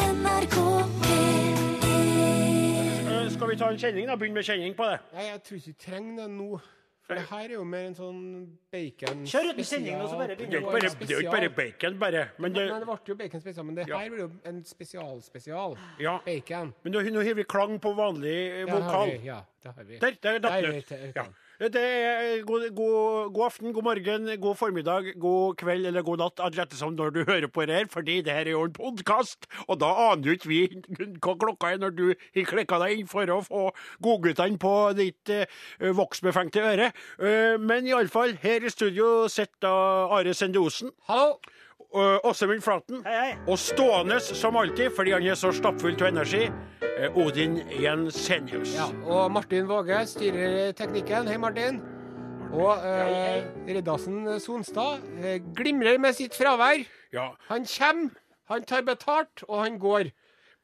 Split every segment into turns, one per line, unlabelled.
NRK P1
Eh, Skal vi ta en kjenning, da? Begynne med kjenning på det.
Nei, jeg tror ikke vi trenger det nå. For det her er jo mer en sånn bacon
Kjør uten sendingen, og så bare
Det er jo ikke bare, det er jo ikke bare bacon, bare. Men, det,
Nei, det ble jo bacon spesial, men det
Ja.
her blir jo en spesial-spesial.
ja.
Bacon.
men nå nå har vi klang på vanlig eh,
Der har
vokal.
vi. Ja, der har vi.
Der, der datt
Der,
den ut.
der, der.
Ja. Det er eh, god, god, god aften, god morgen, god formiddag, god kveld eller god natt, alt ettersom når du hører på det her, fordi det her er jo en podkast, og da aner jo ikke vi hva klokka er når du har klikka deg inn for å få godguttene på ditt eh, voksbefengte øre. Eh, men iallfall, her i studio sitter da Are Sende Osen,
Hallo!
eh, Åsemund Flaten,
Hei, hei.
og stående som alltid, fordi han er så stappfull av energi, eh, Odin Jensenius.
Ja, og Martin Våge styrer teknikken. Hei, Martin. Og eh, Riddarsen Sonstad eh, glimrer med sitt fravær.
Ja.
Han kommer, han tar betalt, og han går.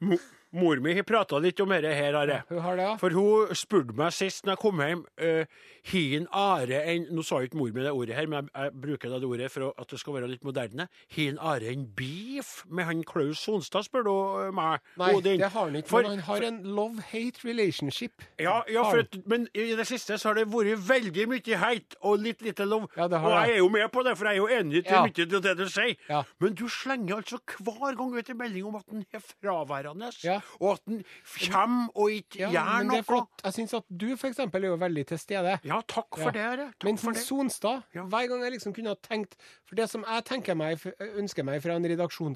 Mo- Mor mi har prata litt om dette her, Are.
Hun har det, ja.
For hun spurte meg sist når jeg kom hjem, eh, har en Are en Nå sa jo ikke mor mi det ordet her, men jeg, jeg bruker det ordet for å- at det skal være litt moderne. Har en Are en beef med han Klaus Sonstad, spør du eh, meg?
Nei,
Odin?
det har han ikke,
For-
men han har en love-hate relationship.
ja, ja
Har
for
han.
at, men i det siste så har det vært veldig mye heit og litt lite lov.
Ja, det har
og
det.
jeg er jo med på det, for jeg er jo enig i
Ja.
mye av det du sier.
Ja.
Men du slenger altså hver gang ut en melding om at den er fraværende,
Ja.
og at den kommer og ikke
Ja,
gjør
men det
noe.
er flott. Jeg syns at du for eksempel er jo veldig til stede.
Ja, takk for
Ja.
det, Are. Takk
Men
for
som
det.
Sonstad,
Ja.
hver gang jeg liksom kunne ha tenkt For det som jeg tenker meg, eh, ønsker meg fra en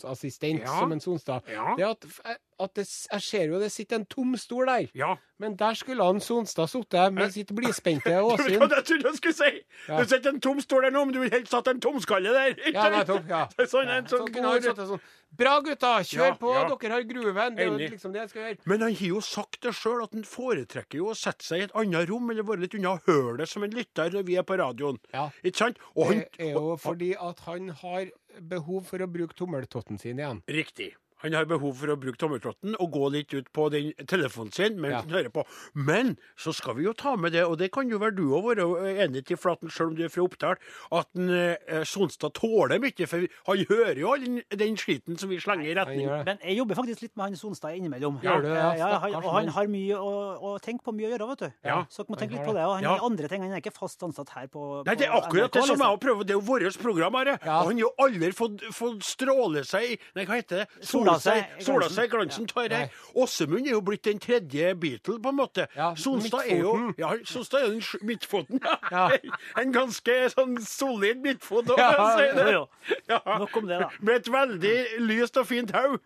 redaksjonsassistent
Ja.
som en Sonstad,
Ja.
det er at, eh, at det, jeg ser jo det sitter en tom stol der.
Ja. Eh,
Men der skulle han Sonstad sittet med sitt blidspente
Du vet hva
åsyn.
jeg trodde jeg skulle si?
Ja.
Du setter en tom stol der nå, men du vil helst hatt en tomskalle der. ikke
Ja,
sant?
nettopp. Ja.
Sånn, en sånn
Sånn kunne han
god-
sittet sånn. Bra, gutta! Kjør
Ja,
på!
ja.
Dere har gruven! Det er
Enig.
jo liksom det jeg skal gjøre.
Men han har jo sagt det sjøl, at han foretrekker jo å sette seg i et annet rom eller være litt unna hølet som en lytter når vi er på radioen.
Ja.
Ikke sant? Og han,
Det er jo fordi at han har behov for å bruke tommeltotten sin igjen.
Riktig. Han har behov for å bruke tommeltotten og gå litt ut på den telefonen sin mens
Ja.
han hører på. Men så skal vi jo ta med det, og det kan jo være du òg være eh, enig til, Flaten, selv om du er fra Oppdal, at en, eh, Sonstad tåler mye. For han hører jo all den, den skiten som vi slenger i
Han
retning.
gjør det.
Men jeg jobber faktisk litt med han Sonstad innimellom.
Gjør du det? Ja,
Eh, ja, han,
stakkars
og han
mann.
har mye å, å tenke på, mye å gjøre, vet du.
Ja.
Så dere må
Han
tenke litt
har
på det. Og han
Ja.
har andre ting. Han er ikke fast ansatt her på
Nei, det er
på
akkurat
NRK,
det som
liksom.
jeg prøver. Det er jo vårt program, Are.
Ja.
Og han har jo aldri fått, fått stråle seg i Nei, hva heter det?
Sola seg i
Sola
glansen.
seg i glansen av det.
Nei.
Åsemund er jo blitt den tredje Beatle, på en måte.
Ja,
Sonstad er jo
midtfoten.
ja, Sonstad er den sj- midtfoten.
Ja.
En ganske sånn solid midtfot. om
Ja,
jeg sier det.
jo, jo.
Ja.
Nok om det, da.
Med et veldig lyst og fint hode.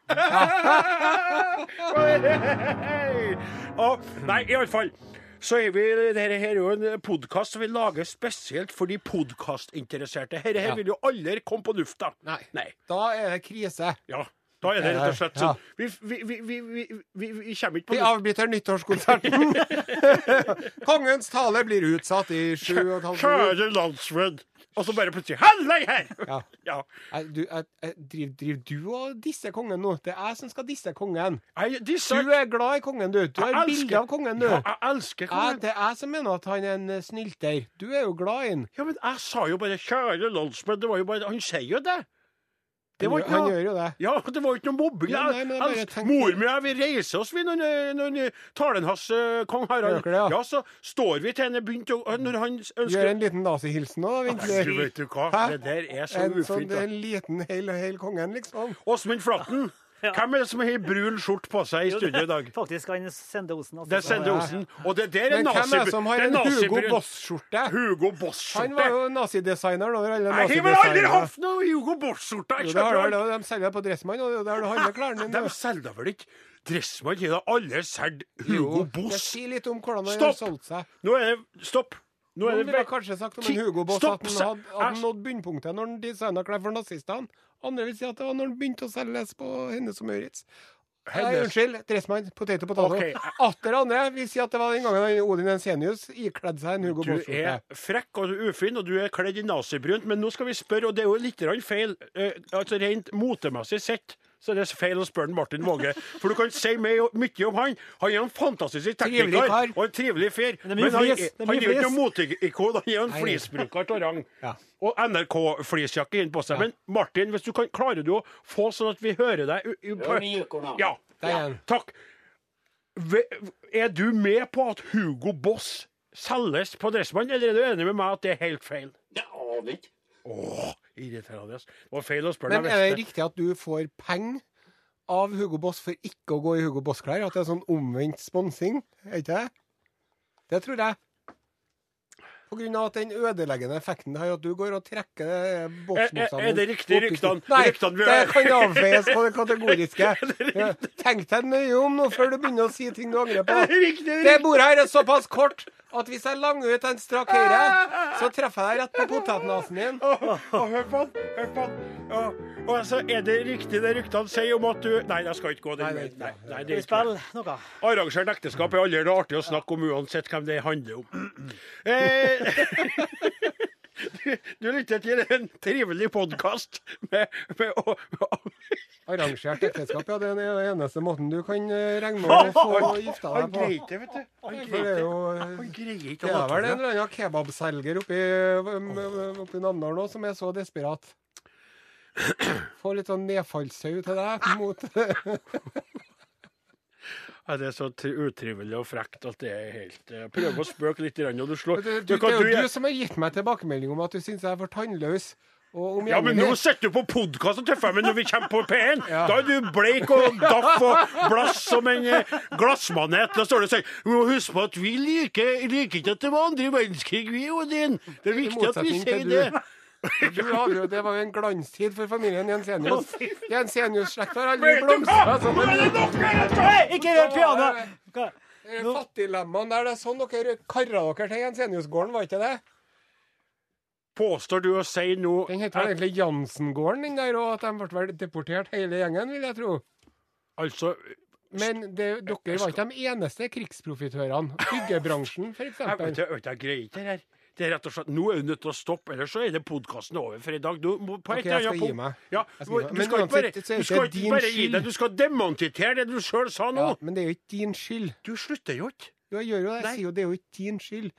Nei, iallfall. Så er vi, dette her er jo en podkast som vi lager spesielt for de podkastinteresserte. Dette her
Ja.
vil jo aldri komme på lufta.
Nei.
Nei.
Da er det krise.
Ja. Da er det rett og slett
Ja.
sånn. Vi, vi, vi, vi, vi, vi, vi kommer ikke på
Vi
lufta.
avbryter nyttårskonserten. Kongens tale blir utsatt i sju og et halvt minutt.
Kjære landsmenn. Og så bare plutselig Hallei her!
Ja.
Ja.
Jeg- du- eh, jeg- jeg- Driver driver du og disser kongen nå? Det er jeg som skal disse kongen.
Jeg, disse,
Du er glad i kongen, du. Du
Jeg
har
elsker-
bilde av kongen, du.
Ja, jeg elsker
Jeg,
kongen.
det er jeg som mener at han er en eh, snylter. Du er jo glad i han.
Ja, men jeg sa jo bare 'kjære landsmenn'. Det var jo bare, Han sier jo det. Det var
Han,
ikke
han
noe,
gjør jo det.
ja, det var jo ikke noe mobbing.
Ja, nei, men jeg bare
Jeg-
tenkte-
Mor mi og jeg, vi reiser oss, vi, når, når, når talen hans, eh, kong Harald
Gjør dere det, ja?
Ja, så står vi til henne begynt å eh, Når han
Gjør
ønsker
en liten nazihilsen òg,
Nei, du
ventelig.
vet du hva,
Hæ?
det der er så
En sånn
ufint. da.
en liten heil og heil kongen, liksom.
Åsmund Flatten, hvem er det som har brun skjorte på seg i studio i dag?
Faktisk han Sende Osen. altså.
Det er Sende Osen. Og det der er
Men hvem er
nazi-
det som har
det er
en Hugo
nazibrun-
Boss-skjorte?
Hugo Boss-skjorte.
Han var jo nazidesigneren over alle
Jeg har vel aldri
nazidesignere.
hatt noe Hugo Boss-skjorte! jeg
Jo, det har
kjøper
du, det. De selger det på Dressmann, og det er jo der du handler klærne
De
dine.
selger vel ikke Dressmann til da alle solgt Hugo
Det
Boss?
sier litt om hvordan han har
Stopp!
solgt seg.
Nå er det Stopp! Nå
Noen
er
ville
det
kanskje sagt om
Ti-
en Hugo Boss
Stopp,
at han
sa-
hadde, at han
Æsj.
nådde bunnpunktet når han designa klær for nazistene. Andre vil si at det var når han begynte å selges på Hennes og Maurits. Nei,
Hennes-
unnskyld. Dressmann. Potet og potet.
Ok.
Atter andre vil si at det var den gangen han Odin Ensenius ikledde seg en Hugo
Du er
Boss-skjorte.
frekk og du er ufin, og du er kledd i nazibrunt, men nå skal vi spørre, og det er jo litt grann feil, eh, altså rent motemessig sett. Så det er feil å spørre Martin Våge. For du kan si meg- mye om han. Han er en fantastisk tekniker
Trivelig kar.
og en trivelig fyr.
er mye
Men han,
flis.
er-
Det er
han
mye
er jo ikke
flis.
noe moteikon. Han er jo en flisbruker av rang.
Ja.
Og NRK-flisjakke inn på seg. Men Martin, hvis du kan, klarer du å få sånn at vi hører deg u- u- på- Ja,
Der er han.
Takk. Ve- Er du med på at Hugo Boss selges på Dressmann, eller er du enig med meg at det er helt feil?
Det aner ikke.
Åh, irriterende. Det var feil å spørre
Men
deg.
er det
Veste.
riktig at du får penger av Hugo Boss for ikke å gå i Hugo Boss-klær? At det er sånn omvendt sponsing? Er ikke det? Det tror jeg. På grunn av at den ødeleggende effekten det har, at du går og trekker eh,
Er-
boksmotstanden
er- er det riktig,
opp i-
ryktene-
Nei,
ryktene vi
det
hører?
kan avfeies på det kategoriske. Ja, Tenk deg nøye om nå før du begynner å si ting du angrer
Er det
på.
riktig? Er det
Det bordet her er såpass kort at hvis jeg langer ut en strak høyre, så treffer jeg deg rett på potetnesen din.
Åh, åh, Hør på han! Hør på han! Åh, Og altså, er det riktig det ryktene sier om at du Nei, jeg skal ikke gå den
Nei,
veien.
det er
Nei,
ikke
nei, det
Skal
er
vi
ikke
spille noe?
Arrangert ekteskap er aldri noe artig å snakke om uansett hvem det handler om. Eh, du, du lytter til en trivelig podkast med, med, å-
Arrangert ekteskap, ja. Det er den eneste måten du kan eh, regne med å få gifta
Han
deg på.
greier ikke, vet du. Han
For det
greier
er
ikke.
jo
Han
eh,
greier ikke
Det
å
er vel en
late som.
eller annen kebabselger oppi, eh, oppi Namdalen nå som er så desperat. Få litt sånn nedfallssau til deg mot
Ja, Det er så tri- utrivelig og frekt at det er helt eh, Prøv å spøke litt, grann, og du slår
du, du,
Du
Det
kan-
er
du-
jo du som har gitt meg tilbakemelding om at du syns jeg er for tannløs. Og
Ja, men nå
omgjengelig.
sitter du på podkast og tøffer meg når vi kommer på P1.
Ja.
Da er du bleik og daff og blass som en eh, glassmanet. Da står du og sier Vi må huske på at vi liker, liker ikke at det var andre verdenskrig, vi, Odin. Det er viktig at vi
motsetning til
sier
du.
det.
Du har jo- Det var jo en glanstid for familien Jensenius. Jensenius-slekta har aldri
Vet
altså,
du hva?
blomstra. som
Nå
en-
er det nok! jeg skal-
Nei, ikke rør pianoet! Hva?
Det er Fattiglemmaen Eh, der, det er sånn dere karra dere til Jenseniusgården, var ikke det?
Påstår du å si nå
Den heter vel egentlig Jansengården, den der, og at de ble vel deportert hele gjengen, vil jeg tro.
Altså
Men det, dere var ikke de eneste krigsprofitørene. Byggebransjen,
Jeg vet
f.eks.
ikke, jeg vet ikke, jeg greier ikke det her. Det er rett og slett, Nå er du nødt til å stoppe, ellers så er det podkasten over for i dag. Du må på et
Ok, jeg
eller annet
skal gi
punkt-
meg.
Ja, du,
Jeg skal gi meg.
du
Men
skal ikke bare,
uansett, så
du
er det
skal
din
ikke bare gi
skyld.
deg, du skal demontere det du sjøl sa nå.
Ja, men det er jo ikke din skyld.
Du slutter jo ikke.
Jo, jeg gjør jo
Nei.
det. Jeg sier jo det er jo ikke din skyld.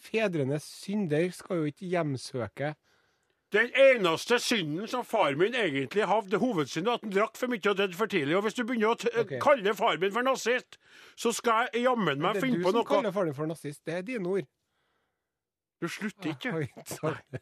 Fedrenes synder skal jo ikke hjemsøke
Den eneste synden som far min egentlig hadde, hovedsynden, at han drakk for mye og døde for tidlig. Og hvis du begynner å t
Ok.
kalle far min for nazist, så skal jeg jammen
Det
meg
er
finne
du
på
som
noe.
kaller faren din for nazist. Det er dine ord.
Du slutter ikke, du.
Oi, sorry.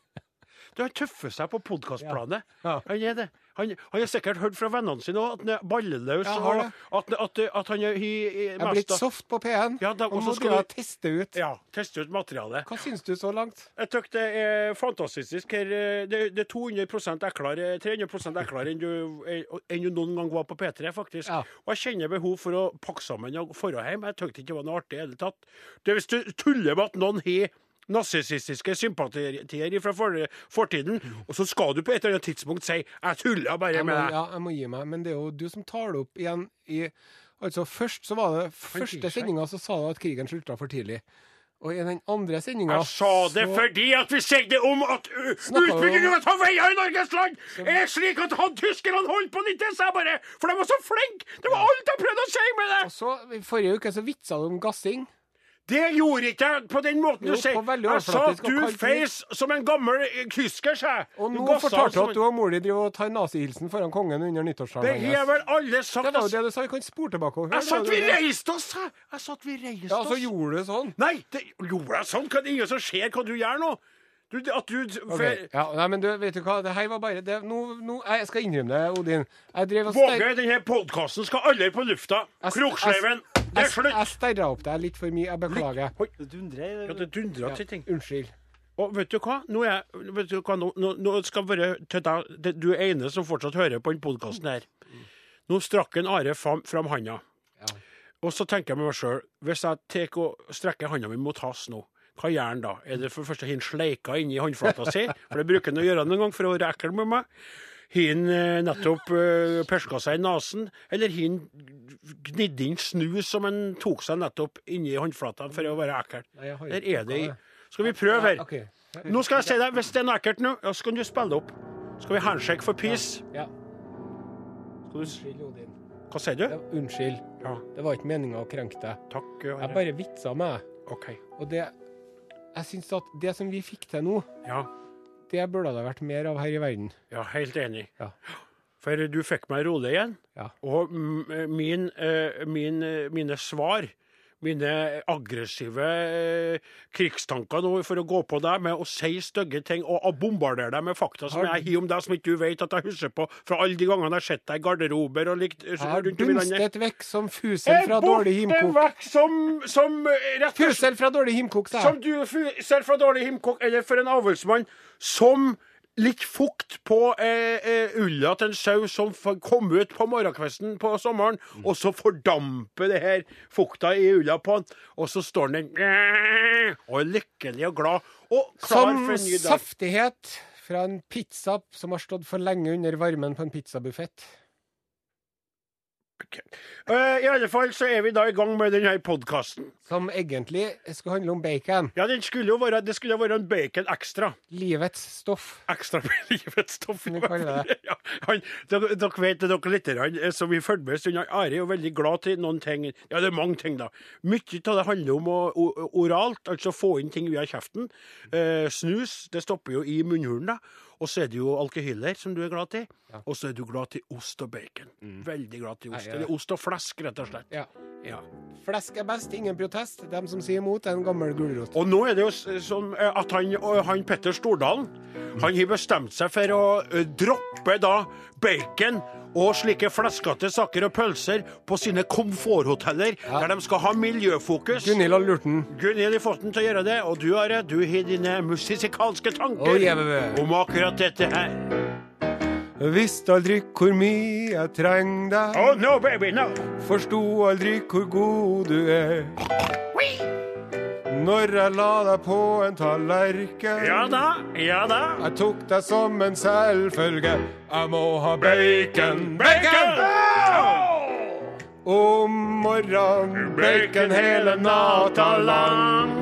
Du har tøffet seg på podkastplanet.
Ja.
Han er det. Han, han har sikkert hørt fra vennene sine også at han er balleløs,
Ja, jeg har
og
det.
at, at, at han er i, i
Jeg er blitt soft på P1,
Ja, da-
og
og så
nå
skal
skal jeg
du-
teste ut.
Ja. Teste ut materialet.
Hva syns du så langt?
Jeg syns det er fantastisk. Her, eh, det, det er 200 eklere, 300 eklere enn, du- eh, enn du noen gang var på P3, faktisk.
Ja.
Og jeg kjenner behov for å pakke sammen og dra hjem. Jeg syntes ikke det var noe artig i det hele tatt. Det er Hvis du tuller med at noen har narsissistiske sympatier fra for, fortiden, og så skal du på et eller annet tidspunkt si 'jeg tuller bare
Jeg må,
med deg'.
ja, jeg må gi meg, men det er jo du som tar det opp igjen i Altså, først så var det
gir seg.
Første sendinga så sa du at krigen slutta for tidlig. Og i den andre sendinga
Jeg sa det fordi at vi sier om at u-
Snakka vi om-
utbyggingen av veier i Norges land er slik at han tyskerne holdt på 90, sa jeg bare! For de var så flinke! Det var alt jeg prøvde å si med det!
Og så, i forrige uke, så vitsa du om gassing.
Det gjorde ikke jeg på den måten
Jo,
du sier.
på veldig
Jeg sa
overflatisk
at
og
du
kaldt
feis som en gammel eh, tysker, sa jeg.
Og nå
gassa
fortalte du
som en-
at du og mor di driver og tar nazihilsen foran kongen under
Det
nyttårstalen
har
hennes.
vel alle sagt.
Det var
Jeg
jo det du sa. Vi kan spore tilbake og høre.
sa at vi
det var det.
reiste oss, sa jeg. Jeg sa at vi reiste
Ja, så
oss.
gjorde du sånn.
Nei, det gjorde jeg sånn. Hva- Det er ingen som ser hva du gjør nå. Du, at du
Ok, Ja, nei, men du, vet du hva, det her var bare det, nå, nå, Jeg skal innrømme det, Odin. Jeg drev og sterk-
Våge, denne podkasten skal aldri på lufta.
Jeg-
Kroksleiven, det er
Jeg,
slutt!
jeg sterra opp deg litt for mye. Jeg beklager.
Du dundrer
Ja, det dundrer til ting.
Unnskyld.
Og vet du hva? Nå, er, jeg- vet du hva? nå, nå, nå skal jeg være til deg, det- du er ene som fortsatt hører på den podkasten her. Nå strakk en Are fram, fram handa.
Ja.
Og så tenker jeg med meg sjøl, hvis jeg tek og strekker handa mi mot hans nå, hva gjør han da? Er det for det første har han sleika inni håndflata si, for det bruker han å gjøre noen gang for å være ekkel med meg? Har han eh, nettopp eh, perska seg i nesen, eller har han gnidd inn snus som han tok seg nettopp inni håndflata for å være ekkel?
Nei, jeg har
Der
ikke
er det i
plukka
Skal vi prøve her?
Ok.
Nå skal jeg si deg, hvis det er noe ekkelt nå, ja, så kan du spille det opp. Skal vi handshake for peace?
Ja.
Skal du, s-
Unnskyld, Odin.
hva sier du?
Ja, unnskyld.
Ja,
Det var ikke meninga å krenke deg.
takk.
Jeg
Are.
bare vitsa med deg.
OK.
Og det Jeg syns at det som vi fikk til nå,
Ja,
det burde det vært mer av her i verden.
ja, helt enig.
Ja.
For eh, du fikk meg rolig igjen.
Ja.
Og mm, min, eh, min, eh, mine svar, mine aggressive eh, krigstanker nå for å gå på deg med å si stygge ting og å bombardere deg med fakta som
Har-
jeg har om deg, som ikke du vet at jeg husker på fra alle de gangene jeg har sett deg i garderober og likt eh,
Jeg har
rundt om i landet.
dunstet vekk som fusel fra dårlig himkok.
vekk som, som eh, rett og slett
Fusel fra dårlig himkok, sa
som
jeg.
du fu- selv fra dårlig himkokk, eller for en avlsmann, som litt fukt på eh, eh, ulla til en sau som f- kom ut på morgenkvisten på sommeren,
Mm.
og så fordamper det her fukta i ulla på han, og så står han der og er lykkelig og glad, og klar
Som
for en ny dag.
saftighet fra en pizza som har stått for lenge under varmen på en pizzabuffett.
Eh, I alle fall så er vi da i gang med denne podkasten.
Som egentlig skulle handle om bacon.
Ja, den skulle jo være, det skulle jo være en bacon ekstra.
Livets stoff.
ekstra med livets stoff. i
Vi
hvert
kaller
fall. Ja, han, dere, dere vet det, dere lytterne eh, som vi følger med en stund. han Are er jo veldig glad til noen ting. Ja, det er mange ting, da. Mye av det handler om å, o, oralt, altså få inn ting via kjeften. Eh, snus, det stopper jo i munnhulen, da. Og så er det jo alkohyler, som du er glad til. Og så er du glad til ost og bacon. Veldig glad til ost.
Mm. Nei, ja.
Eller ost og flesk, rett og slett.
Ja.
Ja.
Flesk er best, ingen protest. Dem som sier imot, er en gammel gulrot.
Og nå er det jo s- sånn eh, at han, og han Petter Stordalen han har bestemt seg for å eh, droppe da bacon og slike fleskete saker og pølser på sine komforthoteller, der de skal ha miljøfokus.
Gunhild har lurt den.
Gunhild har fått den til å gjøre det, og du, Are, du har dine musikalske tanker
Å, jævlig.
om akkurat dette her.
Visste aldri hvor mye jeg trenger deg.
Oh no, baby, no!
Forsto aldri hvor god du er. Når jeg la deg på en tallerken,
Ja da, ja da.
jeg tok deg som en selvfølge. Jeg må ha bacon, bacon! Om morgenen, bacon hele natta lang.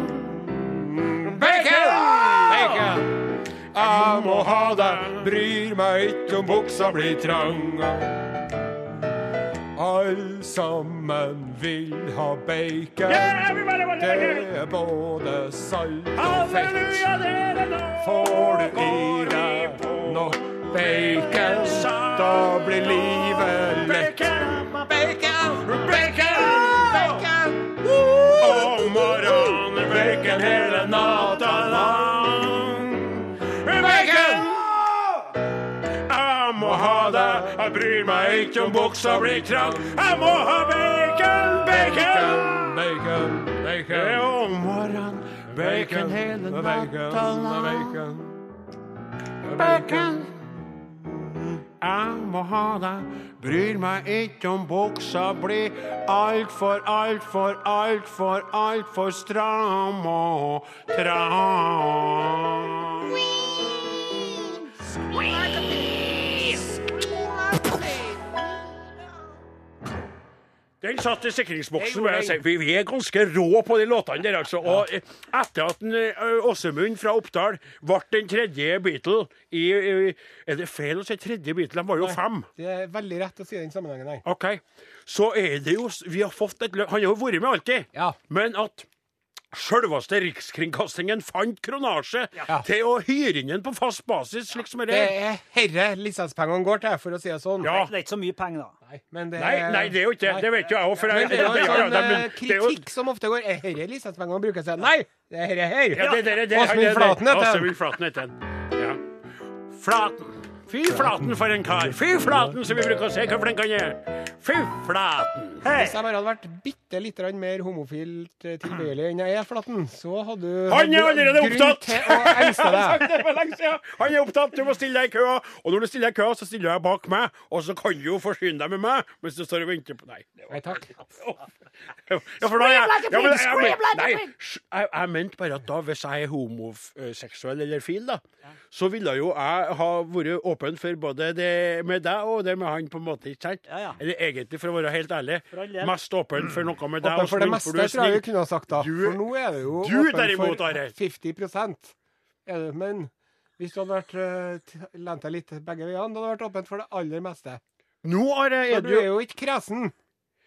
Bacon! Bacon! Jeg må ha deg, bryr meg ikke om buksa blir trang. Alle sammen vil ha bacon. Det er både salt og fett. Får du i deg nok bacon, da blir livet lett. Bacon! Bacon! Om morgenen, bacon hele natta lang. Bacon!
Jeg må ha deg, jeg bryr meg ikke om buksa blir trang. Jeg må ha bacon, bacon!
Bacon,
Det er
bacon,
om morgenen, bacon hele natta lang. Bacon! Jeg må ha deg, bryr meg ikke om buksa blir altfor, altfor, altfor, altfor stram og trang. Den satt i sikringsboksen. må jeg si. Vi, vi er ganske rå på de låtene der, altså. Og eh, etter at den, eh, Åsemund fra Oppdal ble den tredje Beatle i eh, Er det feil å si tredje Beatle? De var jo fem.
Det er veldig rett å si den sammenhengen her.
OK. Så er det jo s- Vi har fått et løp Han har jo vært med alltid.
Ja.
Men at Sjølveste Rikskringkastingen fant kronasje
Ja.
til å hyre inn en på fast basis, slik som det
Det
er.
er herre lisenspengene går til, for å si det sånn.
Ja.
Det er ikke så mye penger, da.
Nei, men det
Nei, nei, det er jo ikke det.
Nei.
Det vet jo jeg òg, for jeg
Men det er jo
ja, ja,
en
det
sånn
er-
eh,
det er jo-
kritikk som ofte går Er herre lisenspengene bruker seg? Nei, det er herre her.
Ja, det, det, det, det,
Åsmund
det- det-
Flaten heter han.
Åsmund Flaten heter han. Ja. Flaten. Fy flaten for en kar. Fy flaten, som vi bruker å si hvor flink han er. Fy flaten.
Hvis jeg bare hadde vært bitte litt grann mer homofilt eh, tilbøyelig enn jeg er, Flatten, så hadde du
Han er
hadde du
allerede
grunn
opptatt!
til å engste deg.
Det var lenge siden. Han er opptatt, du må stille deg i køa. Og når du stiller deg i køa, så stiller jeg bak meg, og så kan du jo forsyne deg med meg mens du står og venter på Nei. det var-
Nei takk.
Ja, for da, jeg, ja, men, jeg, men, nei, sj- jeg, jeg mente bare at da, hvis jeg er homoseksuell eller fil, da, så ville jo jeg ha vært åpen for både det med deg og det med han, på en måte. ikke sant?
Ja, ja.
Eller egentlig, for å være helt ærlig,
For all del.
mest åpen for noe med deg.
Åpen for det
Åsmund,
meste,
du er
tror jeg vi
snill.
kunne ha sagt da.
Du-
For nå er det jo
du derimot,
for
Are.
50 er det. Men hvis du hadde vært eh, t- lent deg litt begge veiene, da hadde det vært åpent for det aller meste.
Nå Are,
For
er
du
du
er jo ikke kresen.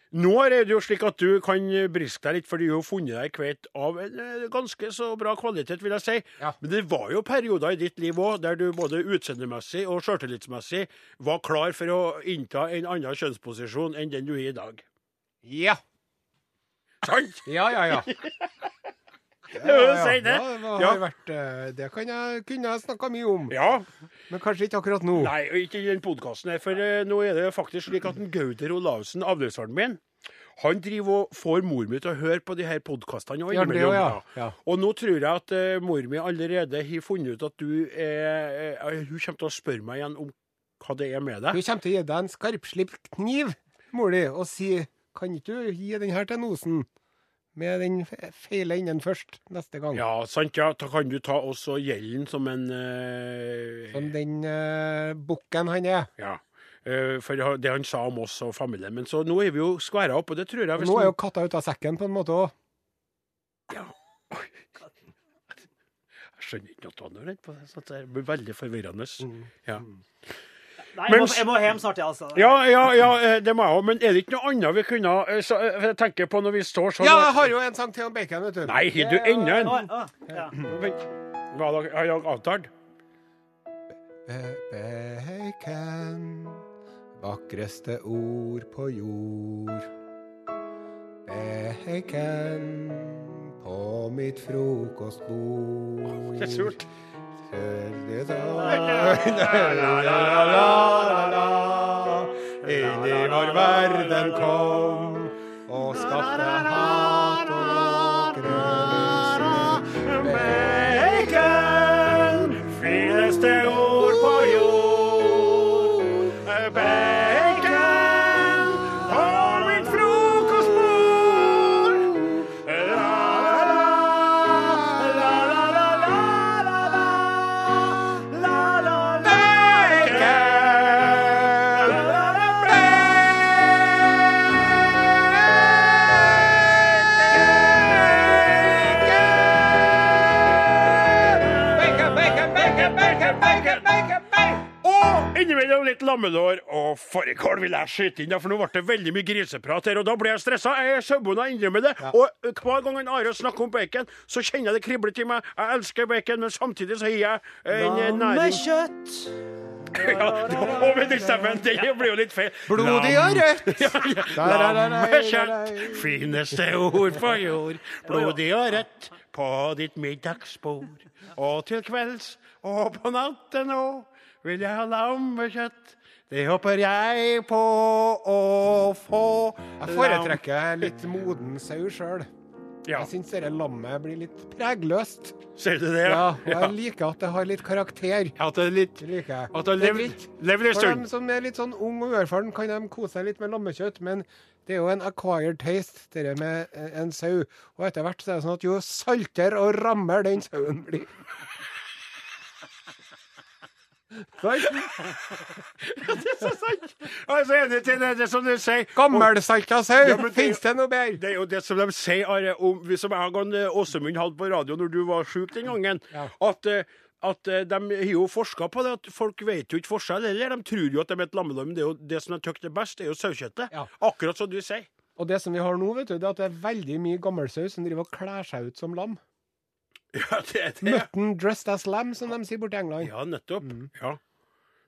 Nå er det jo slik at du kan briske deg litt, for du har jo funnet deg kveite av en eh, ganske så bra kvalitet, vil jeg si.
Ja.
Men det var jo perioder i ditt liv òg der du både utseendemessig og sjøltillitsmessig var klar for å innta en annen kjønnsposisjon enn den du er i dag.
Ja.
Sant?
Ja, ja, ja.
må jo si det.
Ja, det,
Ja.
har vært, eh, det kan jeg, kunne jeg snakka mye om,
Ja.
men kanskje ikke akkurat nå.
Nei, og ikke i den podkasten her, for eh, nå er det jo faktisk slik at en Gauder Olavsen, avløseren min, han driver og får mor mi til å høre på de her podkastene og
Ja, det
innimellom.
også, ja. Ja.
Og nå tror jeg at eh, mor mi allerede har funnet ut at du er eh, Hun kommer til å spørre meg igjen om hva det er med
Hun
deg.
kommer til å gi deg en skarpslipt kniv, mor di, og si Kan ikke du gi den her til Nosen? Med den fe- feile enden først, neste gang.
Ja, sant, ja. Da kan du ta også gjelden som en eh,
Som den uh, bukken han er.
Ja. Eh, for det han sa om oss og familien. Men så nå er vi jo skværa opp, og det tror jeg
Og nå er jo katta ute av sekken, på en måte òg.
Ja. Oi. Jeg skjønner ikke noe annet redd på det. sånn at Det blir veldig forvirrende.
Mm.
Ja.
Nei, jeg må,
Mens-
jeg må hjem snart, jeg, altså.
ja, ja, ja, eh, det må jeg òg. Men er det ikke noe annet vi kunne eh, så- eh, for Jeg tenker på når vi står sånn
Ja, jeg har jo en sang til om bacon, vet du.
Nei, har du enda en?
Å, å, ja.
Vent. Hva har dere- har dere avtalt?
Be- Bacon, vakreste ord på jord. Bacon på mitt frokostbord.
Det er surt.
Følges av- La-la-la-la-la-la. Inn i vår verden kom og skapte hat og grønnelse.
Bacon, fineste ord på jord. Bacon på mitt frokostbord. La, la, la, la, la, la, la, la, la. La, la, la, bacon. La, la, la,
Bacon, bacon, bacon, bacon, bacon, bacon, bacon.
Og innimellom litt lammelår og fårikål vil jeg skyte inn, da, for nå ble det veldig mye griseprat her, og da ble jeg stressa. Jeg er sauebonde, jeg innrømmer det. Og hver gang en Are snakker om bacon, så kjenner jeg det kribler til meg. Jeg elsker bacon, men samtidig så har jeg en eh, næring
Lammekjøtt.
ja, Og med den stemmen, det blir jo litt feil.
Blodig og rødt.
Lammekjøtt, fineste ord på jord. Blodig og rødt på ditt middagsbord. Og til kvelds og på natten nå vil jeg ha lammekjøtt. Det håper jeg på å få.
Jeg foretrekker litt moden sau sjøl.
Ja,
Jeg syns dette lammet blir litt pregløst.
ser du det?
Ja, og jeg liker at det har litt karakter.
At det er litt
Det liker jeg.
At det har
Det er
levd,
litt-
levd en
For dem
stund.
som er litt sånn ung og uerfaren, kan de kose seg litt med lammekjøtt, men det er jo en acquired taste, dette med eh, en sau. Og etter hvert så er det sånn at jo saltere og rammere den sauen blir Sant?
Det er så sant! Jeg er så enig til det, det er som du sier.
Gammelsalta sau!
Ja, men det-
Fins det noe bedre?
Det er jo det som de sier, Are, om, som jeg og han, eh, Åsemund hadde på radio når du var sjuk den gangen.
Ja.
At, eh, at eh, de har jo forska på det, at folk vet jo ikke forskjell heller. De tror jo at de er et lammelam, men det, er jo, det som de tykker er best, det er jo saukjøttet.
Ja.
Akkurat som du sier.
Og det som vi har nå, vet du, det er at det er veldig mye gammelsau som driver og kler seg ut som lam.
Ja, det er det.
Mutton dressed as lamb, som de sier borti England.
ja nettopp. Ja.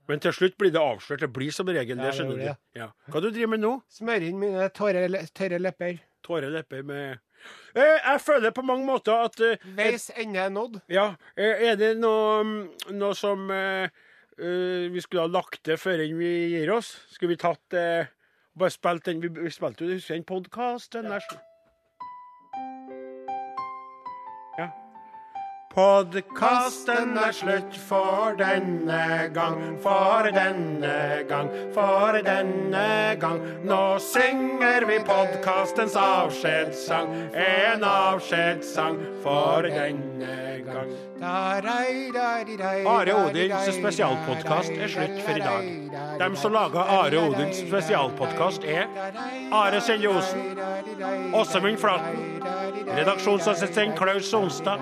Men til slutt blir det avslørt. Det blir som regel
Ja,
det,
det
skjønner
gjør det.
du. Ja. Hva du driver med nå?
Smører inn mine tørre, le- tørre lepper.
Tårer i lepper med eh, Jeg føler på mange måter at eh,
Veis ende er nådd.
Ja, eh, er det noe, mm, noe som eh, eh, vi skulle ha lagt til før enn vi gir oss? Skulle vi tatt eh, bare spilt den Vi vi spilte jo husker du den podkasten der som- Ja. Podkasten er slutt for denne gang, for denne gang, for denne gang. Nå synger vi podkastens avskjedssang, en avskjedssang for denne gang.
Are
Are Odins spesialpodkast er slutt for i dag. Dem som lager Are Odins spesialpodkast er Are Selje Osen, Åsemund Flaten, redaksjonsassistent Klaus Sonstad,